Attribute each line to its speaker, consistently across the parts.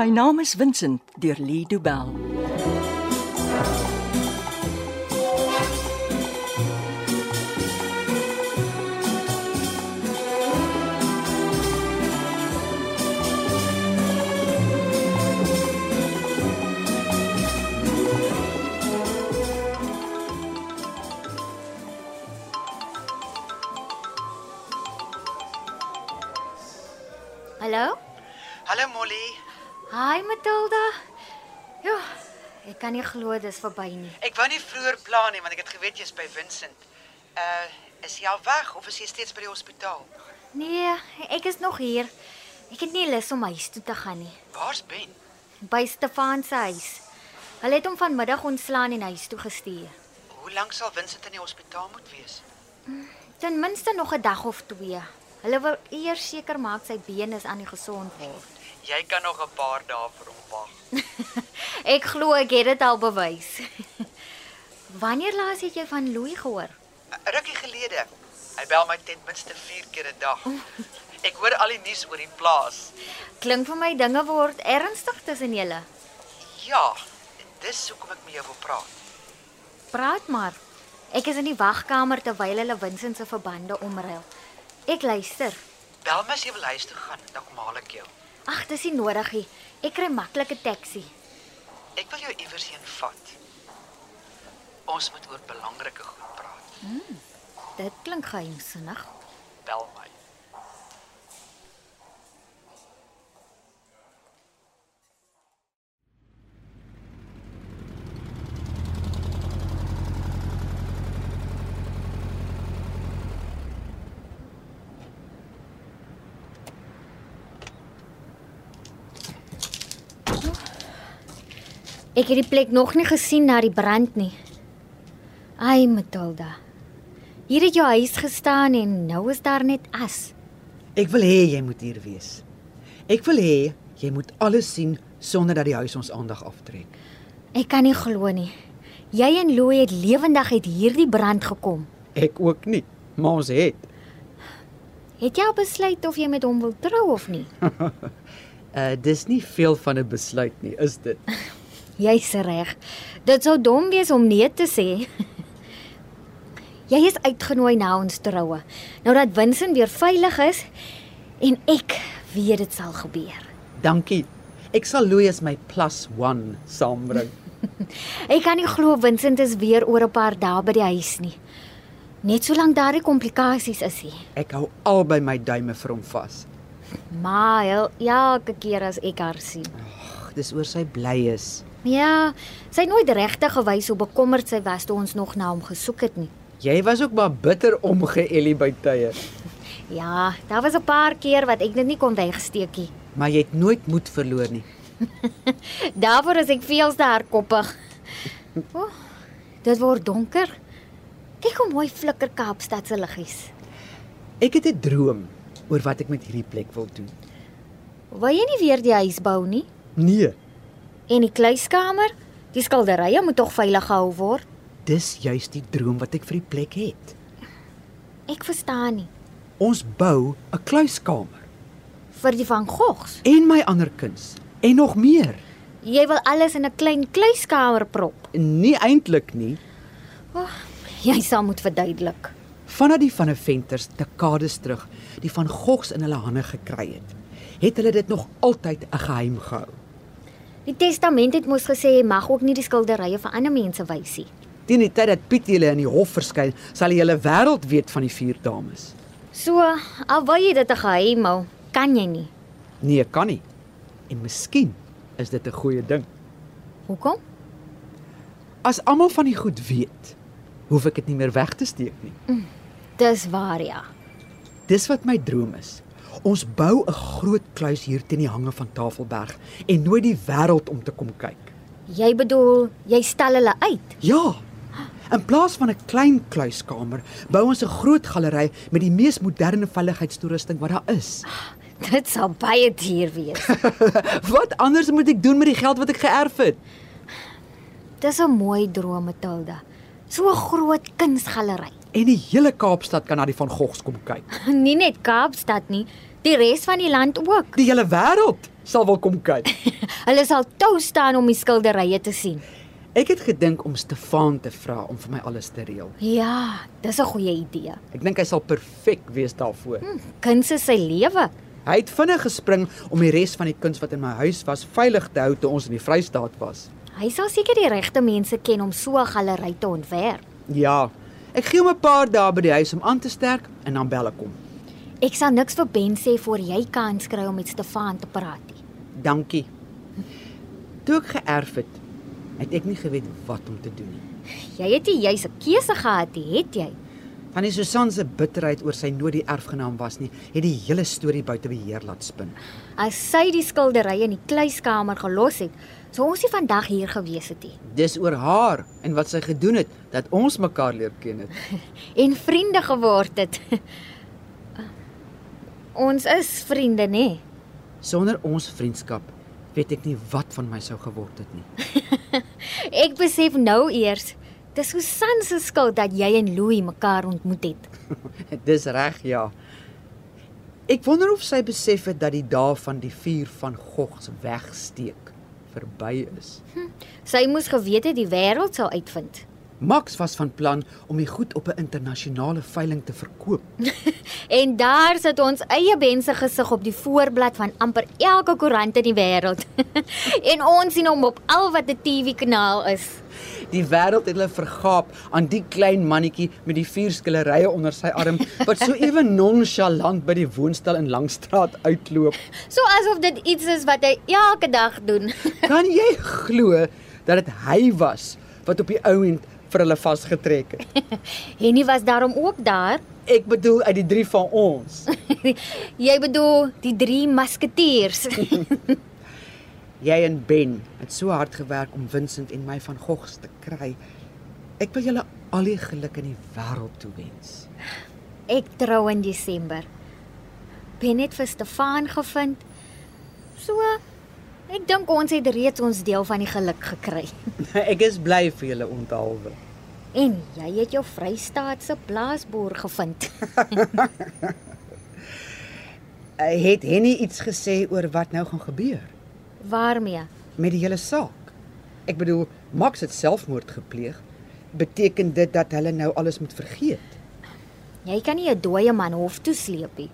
Speaker 1: My naam is Vincent deur Lee Du Bell.
Speaker 2: Hallo?
Speaker 3: Hallo Molly.
Speaker 2: Hi Matilda. Ja, ek kan nie glo dis verby nie.
Speaker 3: Ek wou nie vroeër plan nie want ek het geweet jy's by Vincent. Uh, is jy al weg of is jy steeds by die hospitaal?
Speaker 2: Nee, ek is nog hier. Ek het nie lus om huis toe te gaan nie.
Speaker 3: Waar's Ben?
Speaker 2: By Stefan se huis. Hulle het hom vanmiddag ontslaan en huis toe gestuur.
Speaker 3: Hoe lank sal Vincent in die hospitaal moet wees?
Speaker 2: Ten minste nog 'n dag of 2. Hulle wil eers seker maak sy bene is aan die gesond word.
Speaker 3: Jy kan nog 'n paar dae vir hom wag.
Speaker 2: Ek glo ek het dit al bewys. Wanneer laas het jy van Louis gehoor?
Speaker 3: 'n Uh, Rukkie gelede. Hy bel my ten minste 4 keer 'n dag. Ek hoor al die nuus oor die plaas.
Speaker 2: Klink vir my dinge word ernstig tussen julle.
Speaker 3: Ja, dis hoekom ek met jou wil praat.
Speaker 2: Praat maar. Ek is in die wagkamer terwyl hulle Vincent se verbande omruil. Ek luister.
Speaker 3: Bel my as jy wil huis toe gaan, dan kom haal ek jou.
Speaker 2: Ag, dis nie nodig nie. Ek kry maklike taxi.
Speaker 3: Ek wil jou iewers heen vat. Ons moet oor belangrike goed praat.
Speaker 2: Dit klink geheimsinnig.
Speaker 3: Bel my.
Speaker 2: Ek het die plek nog nie gesien na die brand nie. Ai, Matilda. Hier het jou huis gestaan en nou is daar net as.
Speaker 4: Ek wil hê jy moet hier wees. Ek wil hê jy moet alles sien sonder dat die huis ons aandag aftrek.
Speaker 2: Ek kan nie glo nie. Jy en Louie het lewendig uit hierdie brand gekom.
Speaker 4: Ek ook nie, maar ons het.
Speaker 2: Het jy al besluit of jy met hom wil trou of nie?
Speaker 4: Uh dis nie veel van 'n besluit nie, is dit?
Speaker 2: Jy's reg. Dit sou dom wees om nee te sê. Jy is uitgenooi na ons troue. Nou dat Winsin weer veilig is en ek weet dit sal gebeur.
Speaker 4: Dankie. Ek sal Louis as my plus 1 saambring.
Speaker 2: Ek kan nie glo Winsin is weer oor 'n paar dae by die huis nie. Net solank daar die komplikasies is hy.
Speaker 4: Ek hou albei my duime vir hom vas.
Speaker 2: Maar heel- elke keer as ek haar sien.
Speaker 4: Ag, dis oor sy bly is.
Speaker 2: Ja, sy het nooit regtig gewys hoe bekommerd sy was toe ons nog na hom gesoek het nie.
Speaker 4: Jy was ook maar bitter omgeëlie by tye,
Speaker 2: Ja, daar was 'n paar keer wat ek dit nie kon wegsteek nie.
Speaker 4: maar jy het nooit moed verloor nie.
Speaker 2: Daarvoor is ek veel te hardkoppig. O, oh, dit word donker. Kyk hoe mooi flikker Kaapstad se liggies.
Speaker 4: Ek het 'n droom oor wat ek met hierdie plek wil doen.
Speaker 2: Wil jy nie weer die huis bou nie?
Speaker 4: Nee,
Speaker 2: En die kluiskamer, die skilderye moet tog veilig gehou word.
Speaker 4: dis juis die droom wat ek vir die plek het.
Speaker 2: Ek verstaan nie.
Speaker 4: Ons bou 'n kluiskamer
Speaker 2: Vir die van Gogs.
Speaker 4: en my ander kuns en nog meer.
Speaker 2: Jy wil alles in 'n klein kluiskamer prop.
Speaker 4: Nie eintlik nie,
Speaker 2: O, oh, jy sal moet verduidelik.
Speaker 4: vanaf die van 'n venters dekades terug die van Gogs in hulle hande gekry het, het hulle dit nog altyd 'n geheim gehou.
Speaker 2: Die testament het mos gesê jy mag ook nie die skilderye vir ander mense wys nie.
Speaker 4: Teen die tyd dat Piet hulle in die hof verskyn, sal die hele wêreld weet van die vier dames.
Speaker 2: So, al wil jy dit 'n geheim hou, kan jy nie.
Speaker 4: Nee, kan nie. En miskien is dit 'n goeie ding.
Speaker 2: Hoekom?
Speaker 4: As almal van die goed weet, hoef ek dit nie meer weg te steek nie.
Speaker 2: Dis waar ja.
Speaker 4: Dis wat my droom is. Ons bou 'n groot kluis hier teen die hange van Tafelberg en nooi die wêreld om te kom kyk.
Speaker 2: Jy bedoel, jy stel hulle uit.
Speaker 4: Ja. In plaas van 'n klein kluiskamer, bou ons 'n groot galery met die mees moderne veiligheidstoerusting wat daar is.
Speaker 2: Dit sal baie duur wees.
Speaker 4: Wat anders moet ek doen met die geld wat ek geërf het?
Speaker 2: Dis 'n mooi droom, Matilda. So 'n groot kunsgalery.
Speaker 4: en die hele Kaapstad kan na die Van Goghs kom kyk.
Speaker 2: Nie net Kaapstad nie, die res van die land ook.
Speaker 4: Die hele wêreld sal wil kom kyk.
Speaker 2: Hulle sal tou staan om die skilderye te sien.
Speaker 4: Ek het gedink om Stefan te vra om vir my alles te reël.
Speaker 2: Ja, dis 'n goeie idee.
Speaker 4: Ek dink hy sal perfek wees daarvoor.
Speaker 2: Kuns is sy lewe.
Speaker 4: Hy het vinnig gespring om die res van die kuns wat in my huis was veilig te hou toe ons in die Vrystaat was.
Speaker 2: Hy sal seker die regte mense ken om so 'n galery te ontwerp.
Speaker 4: Ja, ek gee hom 'n paar dae by die huis om aan te sterk en dan bel ek hom.
Speaker 2: Ek sal niks vir Ben sê voor jy kans kry om met Stefan te praat nie.
Speaker 4: Dankie. Toe ek geërf het, het ek nie geweet wat om te doen nie.
Speaker 2: Jy het nie jy's 'n keuse gehad nie, het jy?
Speaker 4: Van die Susan se bitterheid oor sy nooit die erfgenaam was nie, het die hele storie buite beheer laat spin.
Speaker 2: As sy die skilderye in die kluiskamer gelos het, sou ons nie vandag hier gewees het nie.
Speaker 4: Dis oor haar en wat sy gedoen het dat ons mekaar leer ken het.
Speaker 2: En vriende geword het. ons is vriende, nê?
Speaker 4: Sonder ons vriendskap weet ek nie wat van my sou geword het nie.
Speaker 2: Ek besef nou eers, dis Susan se skuld dat jy en Louis mekaar ontmoet het.
Speaker 4: Dis reg, ja. Ek wonder of sy besef het dat die dae van die vuur van Gogs wegsteek verby is.
Speaker 2: Sy moes geweet het die wêreld sal uitvind.
Speaker 4: Max was van plan om die goed op 'n internasionale veiling te verkoop.
Speaker 2: En daar sit ons eie bense gesig op die voorblad van amper elke koerant in die wêreld. en ons sien hom op al wat 'n TV-kanaal is.
Speaker 4: Die wêreld het hulle vergaap aan die klein mannetjie met die vuurskillerye onder sy arm wat so ewe nonchalant by die woonstel in Langstraat uitloop.
Speaker 2: So asof dit iets is wat hy elke dag doen.
Speaker 4: Kan jy glo dat dit hy was wat op die ou end vir hulle vasgetrek het?
Speaker 2: Henny was daarom ook daar.
Speaker 4: Ek bedoel uit die drie van ons.
Speaker 2: Jy bedoel die drie musketeers.
Speaker 4: Jy en Ben het so hard gewerk om Vincent en my van Gogs te kry. Ek wil julle al die geluk in die wêreld toewens.
Speaker 2: Ek trou in Desember. Ben het vir Stefan gevind. So ek dink ons het reeds ons deel van die geluk gekry.
Speaker 4: Ek is bly vir julle onthaalwe.
Speaker 2: En jy het jou Vrystaatse plaasboer gevind.
Speaker 4: Eh, Het Henny iets gesê oor wat nou gaan gebeur
Speaker 2: Waarmee?
Speaker 4: met die hele saak? Ek bedoel, Max het selfmoord gepleeg. Beteken dit dat hulle nou alles moet vergeet?
Speaker 2: Jy kan nie 'n dooie man hof toe sleep nie.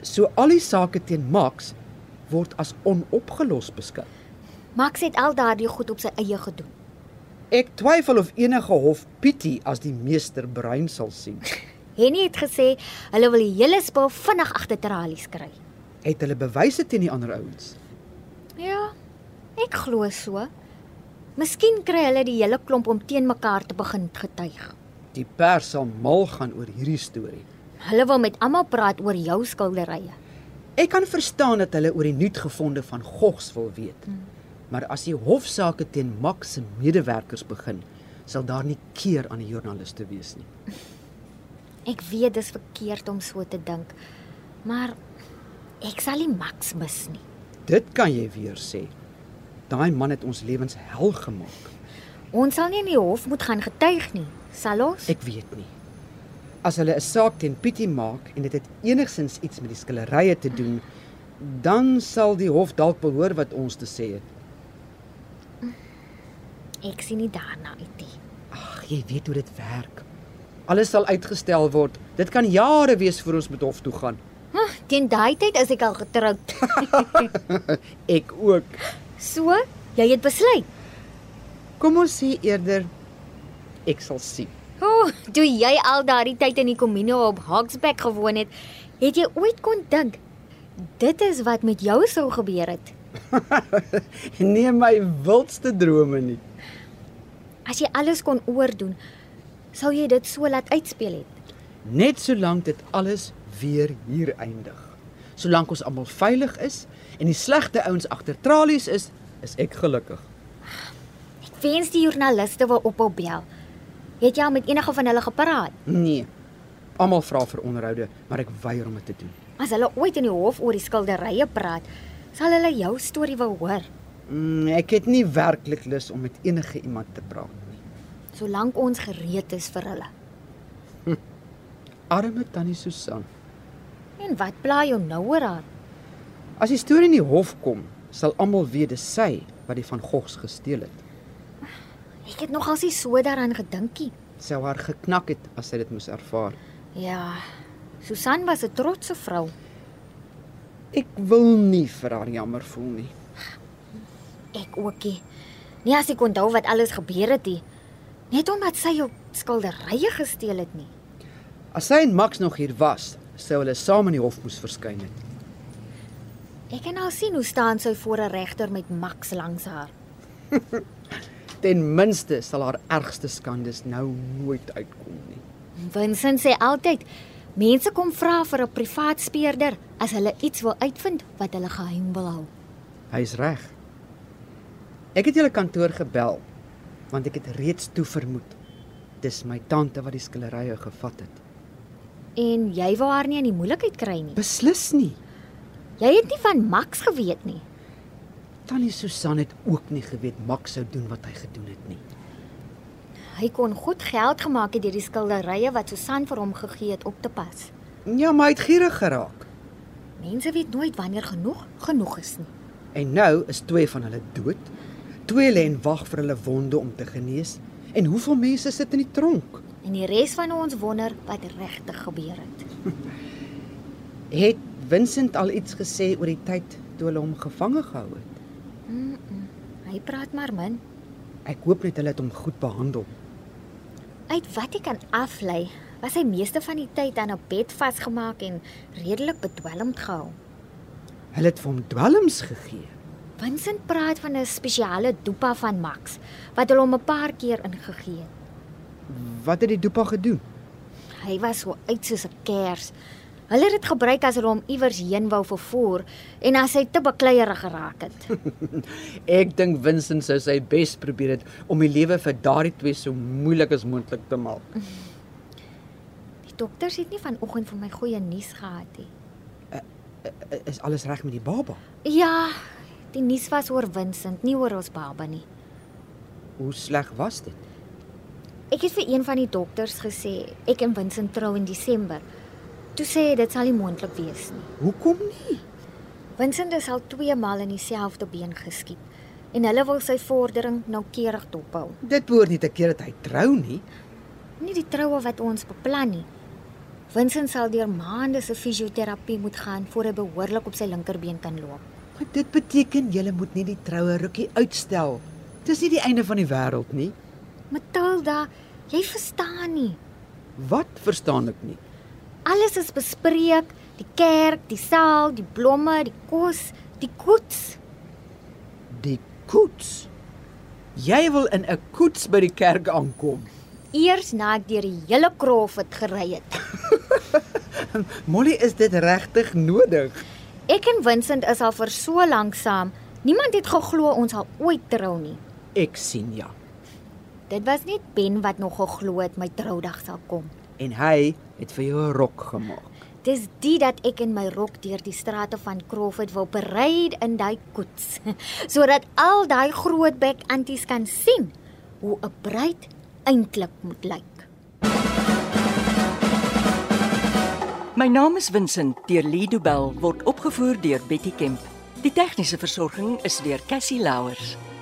Speaker 4: So al die sake teen Max word as onopgelos beskou.
Speaker 2: Max het al daardie goed op sy eie gedoen.
Speaker 4: Ek twyfel of enige hof Pietie as die meester brein sal sien.
Speaker 2: Henny het gesê hulle wil die hele spul vinnig agter tralies kry.
Speaker 4: Het hulle bewyse teen die ander ouens?
Speaker 2: Ja, ek glo so. Miskien kry hulle die hele klomp om teen mekaar te begin getuig.
Speaker 4: Die pers sal mal gaan oor hierdie storie.
Speaker 2: Hulle wil met almal praat oor jou skilderye.
Speaker 4: Ek kan verstaan dat hulle oor die nuut gevonde van Gogs wil weet. Maar as die hofsaake teen Max se medewerkers begin, sal daar nie keer aan die joernaliste wees nie.
Speaker 2: Ek weet dis verkeerd om so te dink, maar ek sal nie Max mis nie.
Speaker 4: Dit kan jy weer sê. Daai man het ons lewens hel gemaak.
Speaker 2: Ons sal nie in die hof moet gaan getuig nie, sal ons?
Speaker 4: Ek weet nie. As hulle 'n saak teen Pietie maak en dit het enigsins iets met die skillerye te doen, dan sal die hof dalk behoor wat ons te sê het.
Speaker 2: Ek sien nie daarna uit nie.
Speaker 4: Ag, jy weet hoe dit werk. Alles sal uitgestel word. Dit kan jare wees voor ons met hof toe gaan.
Speaker 2: Huh, Hm, teen daai tyd is ek al getroud.
Speaker 4: Ek ook.
Speaker 2: So, jy het besluit.
Speaker 4: Kom ons sê eerder ek sal sien.
Speaker 2: O, oh, toe jy al daardie tyd in die Comino op Hawksback gewoon het, het jy ooit kon dink dit is wat met jou sou gebeur het
Speaker 4: Nee my wildste drome nie.
Speaker 2: as jy alles kon oordoen? Sou jy dit so laat uitspeel het?
Speaker 4: Net solank dit alles weer hier eindig. Solank ons almal veilig is en die slegte ouens agter tralies is, is ek gelukkig.
Speaker 2: Ek wens die joernaliste wou ophou bel. Het jy al met enige van hulle gepraat?
Speaker 4: Nee. Almal vra vir onderhoude, maar ek weier om dit te doen.
Speaker 2: As hulle ooit in die hof oor die skilderye praat, sal hulle jou storie wou hoor.
Speaker 4: Mm, ek het nie werklik lus om met enige iemand te praat nie.
Speaker 2: Solank ons gereed is vir hulle.
Speaker 4: Arme tannie Susan.
Speaker 2: En wat pla jou nou oor haar?
Speaker 4: As die storie in die hof kom, sal almal weet dis sy wat die van Gogs gesteel het.
Speaker 2: Ek het nogals nie so daaraan gedinkie.
Speaker 4: Sy wou haar geknak het as sy dit moes ervaar.
Speaker 2: Ja. Susan was 'n trotse vrou.
Speaker 4: Ek wil nie vir haar jammer voel nie.
Speaker 2: Ek ookie. Nie as ek onthou wat alles gebeur het nie. Net omdat sy jou skilderye gesteel het nie.
Speaker 4: As sy en Max nog hier was, sou hulle saam in die hof moes verskyn het.
Speaker 2: Ek kan al sien hoe staan sy voor 'n regter met Max langs haar.
Speaker 4: Ten minste sal haar ergste skandes nou nooit uitkom nie.
Speaker 2: Vincent sê altyd mense kom vra vir 'n privaat speurder as hulle iets wil uitvind wat hulle geheim wil hou.
Speaker 4: Hy's reg. Ek het julle kantoor gebel want ek het reeds toe vermoed dis my tante wat die skilderye gevat het.
Speaker 2: En jy wou haar nie in die moeilikheid kry nie.
Speaker 4: Beslis nie.
Speaker 2: Jy het nie van Max geweet nie.
Speaker 4: Tannie Susan het ook nie geweet Max sou doen wat hy gedoen het nie.
Speaker 2: Hy kon goed geld gemaak het deur die skilderye wat Susan vir hom gegee het op te pas.
Speaker 4: Ja, maar hy het gierig geraak.
Speaker 2: Mense weet nooit wanneer genoeg genoeg is nie.
Speaker 4: En nou is twee van hulle dood. Twee lê en wag vir hulle wonde om te genees. En hoeveel mense sit in die tronk?
Speaker 2: En die res van ons wonder wat regtig gebeur het.
Speaker 4: Het Vincent al iets gesê oor die tyd toe hulle hom gevange gehou het?
Speaker 2: Hy praat maar min.
Speaker 4: Ek hoop net hulle het hom goed behandel.
Speaker 2: Uit wat ek kan aflei, was hy meeste van die tyd aan 'n bed vasgemaak en redelik bedwelmd gehou.
Speaker 4: Hulle het vir hom dwelms gegee.
Speaker 2: Vincent praat van 'n spesiale dopa van Max wat hulle hom 'n paar keer ingegee het.
Speaker 4: Wat het die dopa gedoen?
Speaker 2: Hy was so uit soos 'n kers. Hulle het dit gebruik as hulle hom iewers heen wou vervoer en as hy te bekleierig geraak het.
Speaker 4: Ek dink Vincent sou sy bes probeer het om die lewe vir daardie twee so moeilik as moontlik te maak.
Speaker 2: Die dokters het nie vanoggend vir my goeie nuus gehad nie.
Speaker 4: Is alles reg met die baba?
Speaker 2: Ja, die nuus was oor Vincent, nie oor ons baba nie.
Speaker 4: Hoe sleg was dit?
Speaker 2: Ek het vir een van die dokters gesê ek en Vincent trou in Desember. Toe sê hy dit sal nie moontlik wees nie.
Speaker 4: Hoekom nie?
Speaker 2: Vincent is al twee maal in dieselfde been geskiet en hulle wil sy vordering noukeurig dophou.
Speaker 4: Dit behoort nie te keer dat hy trou nie.
Speaker 2: Nie die troue wat ons beplan nie. Vincent sal deur maande se fisioterapie moet gaan voor hy behoorlik op sy linkerbeen kan loop.
Speaker 4: Maar dit beteken jy moet nie die troue rukkie uitstel. Dis nie die einde van die wêreld nie.
Speaker 2: Matilda, jy verstaan nie.
Speaker 4: Wat verstaan ek nie?
Speaker 2: Alles is bespreek, die kerk, die saal, die blomme, die kos, die koets.
Speaker 4: Die koets. Jy wil in 'n koets by die kerk aankom.
Speaker 2: Eers na ek deur die hele Crawford gery het.
Speaker 4: Molly, is dit regtig nodig?
Speaker 2: Ek en Vincent is al vir so lank saam. Niemand het geglo ons sal ooit trou nie.
Speaker 4: Ek sien ja.
Speaker 2: Dit was net Ben wat nog geglo het my troudag sal kom.
Speaker 4: En hy het vir jou 'n rok gemaak.
Speaker 2: Dis dit dat ek in my rok deur die strate van Crawford wil berei in daai koets, sodat al daai groot bek anties kan sien hoe 'n bruid eintlik moet lyk.
Speaker 1: My naam is Vincent deur Lido Bell word opgevoer deur Betty Kemp. Die tegniese versorging is deur Cassie Louers.